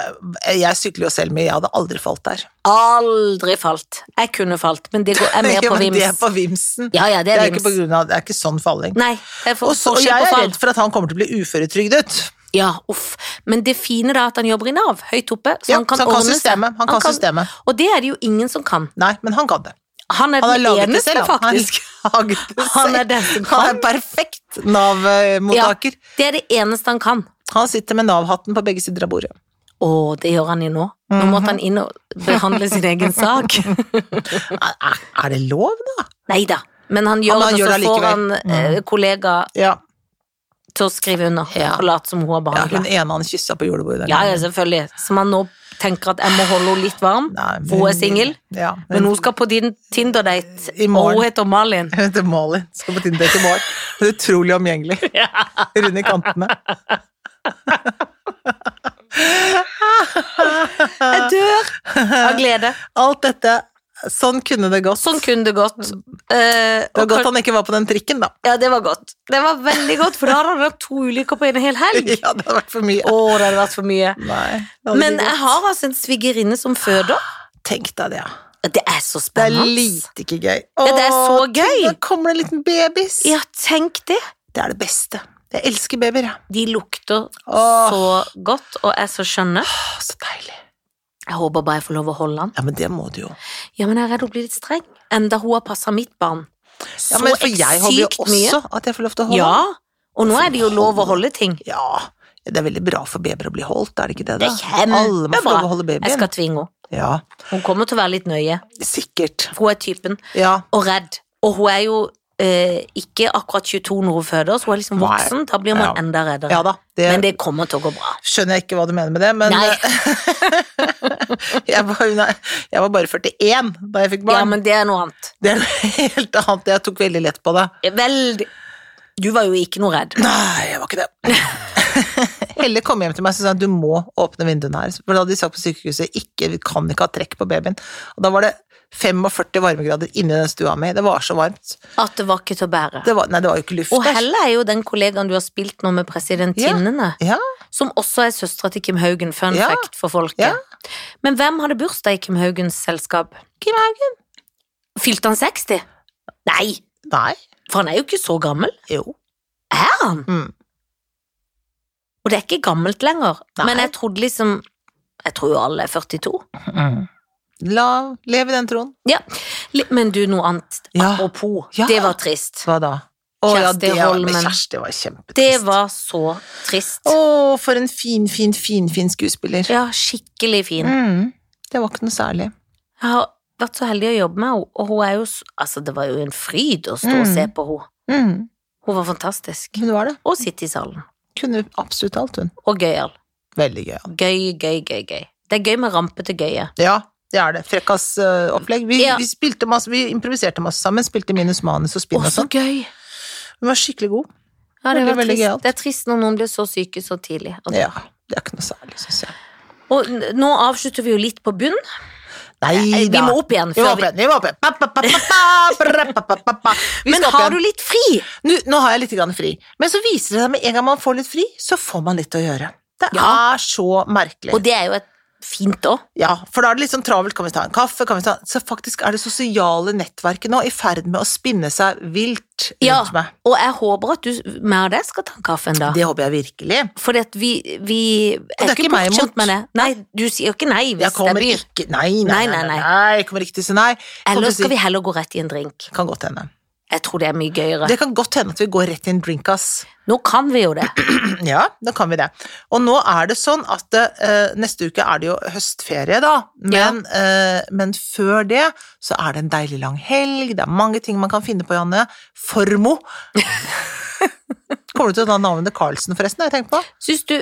Speaker 1: jeg sykler jo selv mye, jeg hadde aldri falt der.
Speaker 2: Aldri falt. Jeg kunne falt, men det går, jeg er mer
Speaker 1: Ja,
Speaker 2: på
Speaker 1: men Det er
Speaker 2: vims.
Speaker 1: på vimsen.
Speaker 2: Ja, ja, det
Speaker 1: Det
Speaker 2: er
Speaker 1: er ikke på
Speaker 2: vims.
Speaker 1: grunn av Det er ikke sånn falling.
Speaker 2: Nei, det er for,
Speaker 1: Og, så, og
Speaker 2: forskjell
Speaker 1: jeg
Speaker 2: på
Speaker 1: er
Speaker 2: fall.
Speaker 1: redd for at han kommer til å bli uføretrygdet.
Speaker 2: Ja, uff. Men det fine da er at han jobber i Nav, høyt oppe, så
Speaker 1: Ja,
Speaker 2: han kan
Speaker 1: så han kan
Speaker 2: ordne seg.
Speaker 1: systemet. Han kan systemet.
Speaker 2: Og det er det jo ingen som kan.
Speaker 1: Nei, men han kan det.
Speaker 2: Han er
Speaker 1: Han har
Speaker 2: den
Speaker 1: laget det
Speaker 2: eneste,
Speaker 1: selv, han.
Speaker 2: faktisk.
Speaker 1: Han, har laget det
Speaker 2: Han er
Speaker 1: selv.
Speaker 2: den som
Speaker 1: Altså, han
Speaker 2: kan.
Speaker 1: er perfekt Nav-mottaker.
Speaker 2: Det er det eneste han kan.
Speaker 1: Han sitter med Nav-hatten på begge sider av bordet.
Speaker 2: Å, det gjør han jo nå. Nå måtte
Speaker 1: Mhm.
Speaker 2: han inn og behandle sin egen sak.
Speaker 1: Er, er- er det lov, da?
Speaker 2: Nei da. Men han gjør
Speaker 1: men han
Speaker 2: det, og
Speaker 1: gjør
Speaker 2: så
Speaker 1: det
Speaker 2: får han
Speaker 1: likevel.
Speaker 2: eh, kollega
Speaker 1: Ja.
Speaker 2: til å skrive under
Speaker 1: Ja.
Speaker 2: og late som hun har
Speaker 1: ja
Speaker 2: behandla.
Speaker 1: hun ene han kyssa på julebordet. den
Speaker 2: Ja, ja,
Speaker 1: gangen.
Speaker 2: selvfølgelig. Som han nå tenker at jeg må holde henne litt varm,
Speaker 1: Nei, men-
Speaker 2: for hun er singel.
Speaker 1: Ja,
Speaker 2: Men hun skal på din Tinder-date,
Speaker 1: I
Speaker 2: og
Speaker 1: morgen.
Speaker 2: hun heter Malin.
Speaker 1: Hun heter Malin. Skal på Tinder til morgen. Hun er utrolig omgjengelig. Rund i kantene.
Speaker 2: Jeg dør av glede.
Speaker 1: Alt dette. Sånn kunne det gått.
Speaker 2: Sånn kunne det gått. Eh,
Speaker 1: det var
Speaker 2: og
Speaker 1: godt
Speaker 2: kan-
Speaker 1: han ikke var på den trikken, da.
Speaker 2: Ja, det var godt. Det var veldig godt, for da hadde han hatt to ulykker på en hel helg.
Speaker 1: Ja, det hadde vært for mye.
Speaker 2: Å, det hadde vært for mye.
Speaker 1: Nei, det hadde
Speaker 2: Men
Speaker 1: ikke
Speaker 2: jeg
Speaker 1: gått.
Speaker 2: har altså en svigerinne som føder.
Speaker 1: Tenk deg det, ja.
Speaker 2: Det er så
Speaker 1: Det er
Speaker 2: spennende.
Speaker 1: lite ikke gøy.
Speaker 2: Ja, det er så
Speaker 1: Åh, tenk,
Speaker 2: gøy.
Speaker 1: Da kommer det en liten babys.
Speaker 2: Ja, tenk det.
Speaker 1: Det er det beste. Jeg elsker babyer, jeg.
Speaker 2: De lukter
Speaker 1: Åh.
Speaker 2: så godt og er så skjønne.
Speaker 1: Åh, Så deilig.
Speaker 2: Jeg håper bare jeg får lov å holde han.
Speaker 1: Ja, men det må du jo.
Speaker 2: Ja, men jeg er redd hun blir litt streng. Enda hun har passa mitt barn. Så
Speaker 1: Ja, men for jeg håper jo
Speaker 2: sykt mye.
Speaker 1: også at jeg får lov til å holde.
Speaker 2: Ja, og nå er det jo lov å holde ting.
Speaker 1: Ja. Det er veldig bra for babyer å bli holdt, er det ikke det?
Speaker 2: Det
Speaker 1: da?
Speaker 2: er kjempebra.
Speaker 1: Alle må få lov å holde
Speaker 2: Jeg
Speaker 1: babyen.
Speaker 2: skal tvinge henne.
Speaker 1: Ja,
Speaker 2: Hun kommer til å være litt nøye.
Speaker 1: sikkert.
Speaker 2: For hun er typen.
Speaker 1: Ja,
Speaker 2: Og redd. Og hun er jo eh, ikke akkurat 22 når hun føder, så hun er liksom
Speaker 1: Nei.
Speaker 2: voksen. Da blir man
Speaker 1: Ja.
Speaker 2: enda reddere.
Speaker 1: ja da. Det,
Speaker 2: Men det kommer til å gå bra.
Speaker 1: skjønner jeg ikke hva du mener med det, men eh,
Speaker 2: Nei.
Speaker 1: jeg, var, nei, jeg var bare 41 da jeg fikk
Speaker 2: Ja,
Speaker 1: barn.
Speaker 2: men det er noe annet.
Speaker 1: Det er noe helt annet. Jeg tok veldig lett på det.
Speaker 2: Veldig Du var jo ikke noe redd.
Speaker 1: Nei, jeg var ikke det. Helle kom hjem til meg og sa at du må åpne vinduene her. For da hadde de sagt på sykehuset ikke, vi kan ikke ha trekk på babyen. Og da var det 45 varmegrader inni den stua mi. Det var så varmt.
Speaker 2: At det var ikke til å bære.
Speaker 1: Det var, nei, det var jo ikke luft
Speaker 2: Og
Speaker 1: der.
Speaker 2: Helle er jo den kollegaen du har spilt nå med presidentinnene,
Speaker 1: Ja,
Speaker 2: som også er søstera til Kim Haugen, fun
Speaker 1: Ja.
Speaker 2: fact for folket.
Speaker 1: Ja.
Speaker 2: Men hvem hadde bursdag i Kim Haugens selskap?
Speaker 1: Kim Haugen.
Speaker 2: Fylte han 60? Nei,
Speaker 1: Nei.
Speaker 2: for han er jo ikke så gammel.
Speaker 1: Jo.
Speaker 2: Er han?
Speaker 1: Mm.
Speaker 2: Og det er ikke gammelt lenger.
Speaker 1: Nei.
Speaker 2: Men jeg trodde liksom Jeg tror jo alle er 42.
Speaker 1: Mm. La leve i den troen.
Speaker 2: Li- Men du, noe annet.
Speaker 1: Ja.
Speaker 2: Apropos,
Speaker 1: Ah, Ja.
Speaker 2: det var trist.
Speaker 1: Hva da? Å, ja,
Speaker 2: Kjersti
Speaker 1: det var, men
Speaker 2: Holmen.
Speaker 1: Kjersti var kjempetrist.
Speaker 2: Det var så trist.
Speaker 1: Å, for en fin, fin, fin, fin skuespiller.
Speaker 2: Ja, skikkelig fin.
Speaker 1: Mm. Det var ikke noe særlig.
Speaker 2: Jeg har vært så heldig å jobbe med henne, og hun er jo s- Altså, det var jo en fryd å stå og
Speaker 1: Mm.
Speaker 2: se på henne.
Speaker 1: Mm.
Speaker 2: Hun var fantastisk.
Speaker 1: Hun var det.
Speaker 2: Og sitte i salen.
Speaker 1: Kunne absolutt alt, hun.
Speaker 2: Og gøyal.
Speaker 1: Veldig gøy. ja.
Speaker 2: Gøy, gøy, gøy, gøy. Det er gøy med rampete gøye.
Speaker 1: Ja, det er det. Frekkas eh, opplegg. Vi,
Speaker 2: Ja.
Speaker 1: vi spilte masse, vi improviserte masse sammen. Spilte minus manus og spinn
Speaker 2: Å,
Speaker 1: og
Speaker 2: så
Speaker 1: sånn.
Speaker 2: gøy!
Speaker 1: Hun var skikkelig god.
Speaker 2: Ja, det,
Speaker 1: Veldig,
Speaker 2: var
Speaker 1: veldig
Speaker 2: trist.
Speaker 1: gøyalt.
Speaker 2: det er trist når noen blir så syke så tidlig. Og,
Speaker 1: Ja, det er ikke noe særlig, syns jeg.
Speaker 2: og n- nå avslutter vi jo litt på bunn.
Speaker 1: Nei
Speaker 2: Eh, Vi
Speaker 1: da.
Speaker 2: må opp igjen.
Speaker 1: Vi må
Speaker 2: Før
Speaker 1: opp
Speaker 2: vi...
Speaker 1: igjen. Vi må opp igjen. Pa, pa, pa, pa, pa, pra, pa, pa, pa, pa. Vi
Speaker 2: Men
Speaker 1: skal opp
Speaker 2: har
Speaker 1: igjen.
Speaker 2: du litt fri?
Speaker 1: nå, nå har jeg litt grann fri. Men så viser det seg med en gang man får litt fri, så får man litt å gjøre. Det
Speaker 2: Ja.
Speaker 1: er så merkelig.
Speaker 2: Og det er jo et fint òg.
Speaker 1: Ja, for da er det litt sånn travelt. Kan vi ta en kaffe? Kan vi ta Så faktisk er det sosiale nettverket nå i ferd med å spinne seg vilt rundt
Speaker 2: Ja.
Speaker 1: meg.
Speaker 2: Og jeg håper at du med og deg skal ta en kaffe en dag.
Speaker 1: Det håper jeg virkelig.
Speaker 2: Fordi at vi, vi
Speaker 1: er
Speaker 2: er ikke
Speaker 1: ikke meg
Speaker 2: bortskjemt
Speaker 1: imot.
Speaker 2: med det. Nei, du sier jo ikke nei hvis
Speaker 1: Jeg
Speaker 2: det er
Speaker 1: kommer
Speaker 2: byr.
Speaker 1: ikke Nei, nei, nei. nei, nei. Jeg kommer ikke til å si nei.
Speaker 2: Eller skal vi heller gå rett i en drink?
Speaker 1: Kan godt hende.
Speaker 2: Jeg tror det er mye gøyere.
Speaker 1: Det kan godt hende at vi går rett i en drink, ass.
Speaker 2: Nå kan vi jo det.
Speaker 1: Ja, da kan vi det. Og nå er det sånn at eh, neste uke er det jo høstferie, da. Men, eh, men før det så er det en deilig lang helg. Det er mange ting man kan finne på, Janne. Formo. Kommer du til å ta navnet Carlsen, forresten? har jeg tenkt på?
Speaker 2: Syns du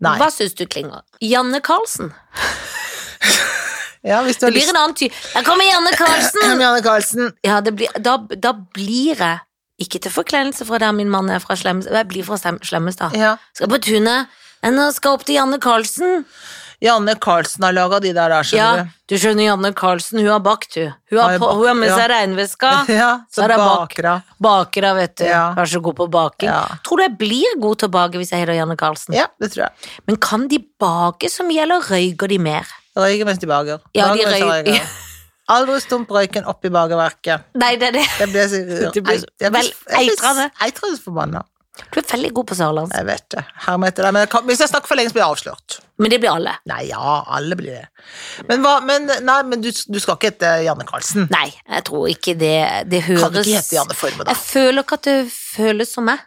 Speaker 1: Nei.
Speaker 2: Hva syns du klinger? Janne Karlsen?
Speaker 1: Ja, hvis du
Speaker 2: Det
Speaker 1: har
Speaker 2: blir
Speaker 1: lyst.
Speaker 2: en annen ty... Jeg kommer Janne Karlsen!
Speaker 1: Janne Carlsen.
Speaker 2: Ja, det blir, da, da blir jeg Ikke til forkleinelse fra der min mann er fra Slemmestad. Jeg blir fra Slem- Slemmestad.
Speaker 1: Ja.
Speaker 2: Skal på tunet. Men nå skal jeg opp til Janne Karlsen.
Speaker 1: Janne Carlsen har laga de der, der,
Speaker 2: Ja,
Speaker 1: skjønner
Speaker 2: du skjønner, Janne Karlsen, hun har bakt, hun. Hun
Speaker 1: Har
Speaker 2: har,
Speaker 1: jeg
Speaker 2: på,
Speaker 1: bakt,
Speaker 2: hun har med
Speaker 1: ja.
Speaker 2: seg regnveska.
Speaker 1: du. Ja,
Speaker 2: Der
Speaker 1: så
Speaker 2: er bak.
Speaker 1: bakra.
Speaker 2: Baker da, vet du.
Speaker 1: Ja.
Speaker 2: Kanskje god på baking.
Speaker 1: Ja.
Speaker 2: Tror du jeg blir god til å bake hvis jeg heter Janne Karlsen?
Speaker 1: Ja, det tror jeg.
Speaker 2: Men kan de bake så mye, eller røyker de mer?
Speaker 1: Røyker mens de baker.
Speaker 2: Ja, de
Speaker 1: Baker mens
Speaker 2: røy-
Speaker 1: røyker. Aldri stump røyken opp i bakerverket.
Speaker 2: Nei, det er det.
Speaker 1: Jeg ble så
Speaker 2: Du ble så-
Speaker 1: jeg ble-
Speaker 2: vel,
Speaker 1: jeg ble-
Speaker 2: eitrende.
Speaker 1: Eitrende forbanna.
Speaker 2: Du er veldig god på sørlands.
Speaker 1: Jeg vet det. Herm etter deg. Men jeg kan, hvis jeg snakker for lenge, så blir jeg avslørt.
Speaker 2: Men det blir alle.
Speaker 1: Nei, ja, alle blir det. Men, hva, men, nei, men du, du skal ikke hete Janne Karlsen.
Speaker 2: Nei, jeg tror ikke det Det høres
Speaker 1: Kan du ikke hete Janne Forme, da?
Speaker 2: Jeg føler ikke at det føles som meg.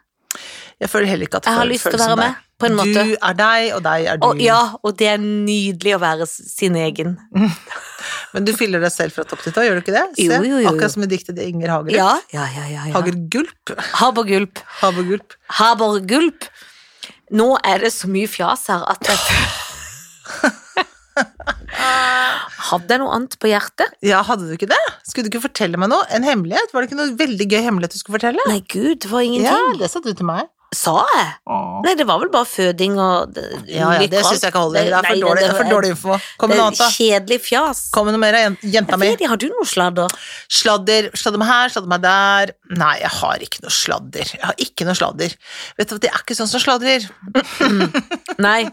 Speaker 1: Jeg føler heller ikke at det
Speaker 2: Jeg har
Speaker 1: føles-
Speaker 2: lyst til å
Speaker 1: føles som
Speaker 2: være med,
Speaker 1: deg.
Speaker 2: på en måte.
Speaker 1: Du er deg, og deg er du.
Speaker 2: Og, ja, og det er nydelig å være s- sin egen.
Speaker 1: Men du fyller deg selv fra topp til tå, gjør du ikke det? Se,
Speaker 2: Jo, jo, jo, jo.
Speaker 1: Akkurat som i diktet til Inger Hagerup.
Speaker 2: Ja, ja, ja. ja, ja.
Speaker 1: Hagergulp.
Speaker 2: Habergulp.
Speaker 1: Havergulp.
Speaker 2: Habergulp. Nå er det så mye fjas her at jeg Hadde jeg noe annet på hjertet?
Speaker 1: Ja, hadde du ikke det? Skulle du ikke fortelle meg noe? En hemmelighet? Var det ikke noe veldig gøy hemmelighet du skulle fortelle?
Speaker 2: Nei, gud, det var
Speaker 1: Ja,
Speaker 2: ingenting. Mm,
Speaker 1: det sa du til meg.
Speaker 2: Sa jeg? Nei, det var vel bare føding og det,
Speaker 1: Ja, ja, det syns jeg ikke holder. Det er for dårlig, det er for dårlig info. Kom med noe annet, da.
Speaker 2: Kjedelig fjas.
Speaker 1: Kom med noe mer, jen- jenta
Speaker 2: Jeg
Speaker 1: mi.
Speaker 2: vet, ikke, har du noe sladder?
Speaker 1: Sladder. Sladder meg her, sladder meg der. Nei, jeg har ikke noe sladder. Jeg har ikke noe sladder. Vet du at jeg er ikke sånn som sladrer.
Speaker 2: Nei,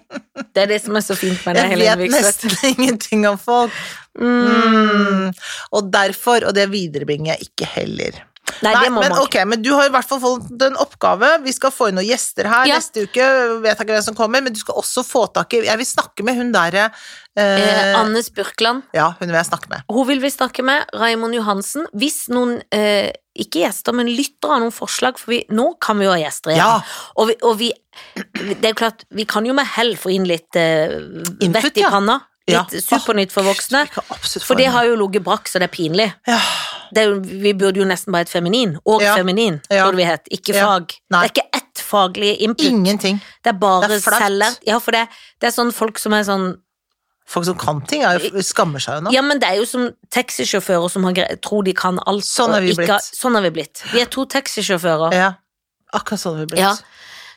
Speaker 2: det er det som er så fint med det,
Speaker 1: Jeg
Speaker 2: Helene
Speaker 1: vet
Speaker 2: Vikstvedt.
Speaker 1: nesten ingenting om Mm. folk. Mm. Og derfor, og det viderebringer jeg ikke heller.
Speaker 2: Nei, det må
Speaker 1: men,
Speaker 2: man ikke.
Speaker 1: ok, men du har i hvert fall fått en oppgave. Vi skal få inn noen gjester her
Speaker 2: Ja.
Speaker 1: neste uke. Vet jeg ikke hvem som kommer, men du skal også få tak i Jeg vil snakke med hun derre
Speaker 2: Eh,
Speaker 1: eh,
Speaker 2: Anne Spurkland.
Speaker 1: Ja, hun vil jeg snakke med.
Speaker 2: Hun vil vi snakke med, Raimond Johansen. Hvis noen, eh, ikke gjester, men lytter av noen forslag, for vi, nå kan vi jo ha gjester igjen.
Speaker 1: Ja.
Speaker 2: Og, vi, og vi, det er jo klart, vi kan jo med hell få inn litt eh,
Speaker 1: Input,
Speaker 2: vett i
Speaker 1: ja.
Speaker 2: panna.
Speaker 1: Ja. Ah,
Speaker 2: Litt supernytt for voksne.
Speaker 1: Vi kan absolutt få
Speaker 2: For det
Speaker 1: henne.
Speaker 2: har jo ligget brakk, så det er pinlig.
Speaker 1: ja.
Speaker 2: Det er jo, vi burde jo nesten bare hett feminin. Og
Speaker 1: Ja.
Speaker 2: feminin,
Speaker 1: Ja.
Speaker 2: burde vi hett. Ikke
Speaker 1: Ja.
Speaker 2: fag.
Speaker 1: Nei.
Speaker 2: Det er ikke ett faglig input.
Speaker 1: Ingenting.
Speaker 2: Det er bare
Speaker 1: Det er flaut.
Speaker 2: selger. Ja, for det, det er sånn folk som er sånn
Speaker 1: Folk som kan ting, er, jo- skammer seg jo nå.
Speaker 2: Ja, men det er jo som taxisjåfører som har gre tror de kan alt.
Speaker 1: Sånn
Speaker 2: og
Speaker 1: er vi
Speaker 2: ikke
Speaker 1: blitt.
Speaker 2: har- Sånn er vi blitt. Vi er to taxisjåfører.
Speaker 1: Ja. Akkurat sånn har vi blitt.
Speaker 2: Ja.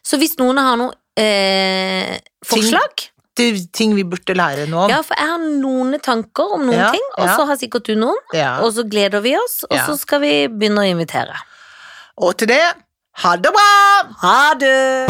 Speaker 2: Så hvis noen har noen eh, forslag
Speaker 1: Det er ting vi burde lære nå.
Speaker 2: Ja, for jeg har noen tanker om noen
Speaker 1: Ja,
Speaker 2: ting, og
Speaker 1: ja.
Speaker 2: så har sikkert du noen.
Speaker 1: Ja.
Speaker 2: Og så gleder vi oss, og
Speaker 1: Ja.
Speaker 2: så skal vi begynne å invitere.
Speaker 1: Og til det, ha det bra!
Speaker 2: Ha det!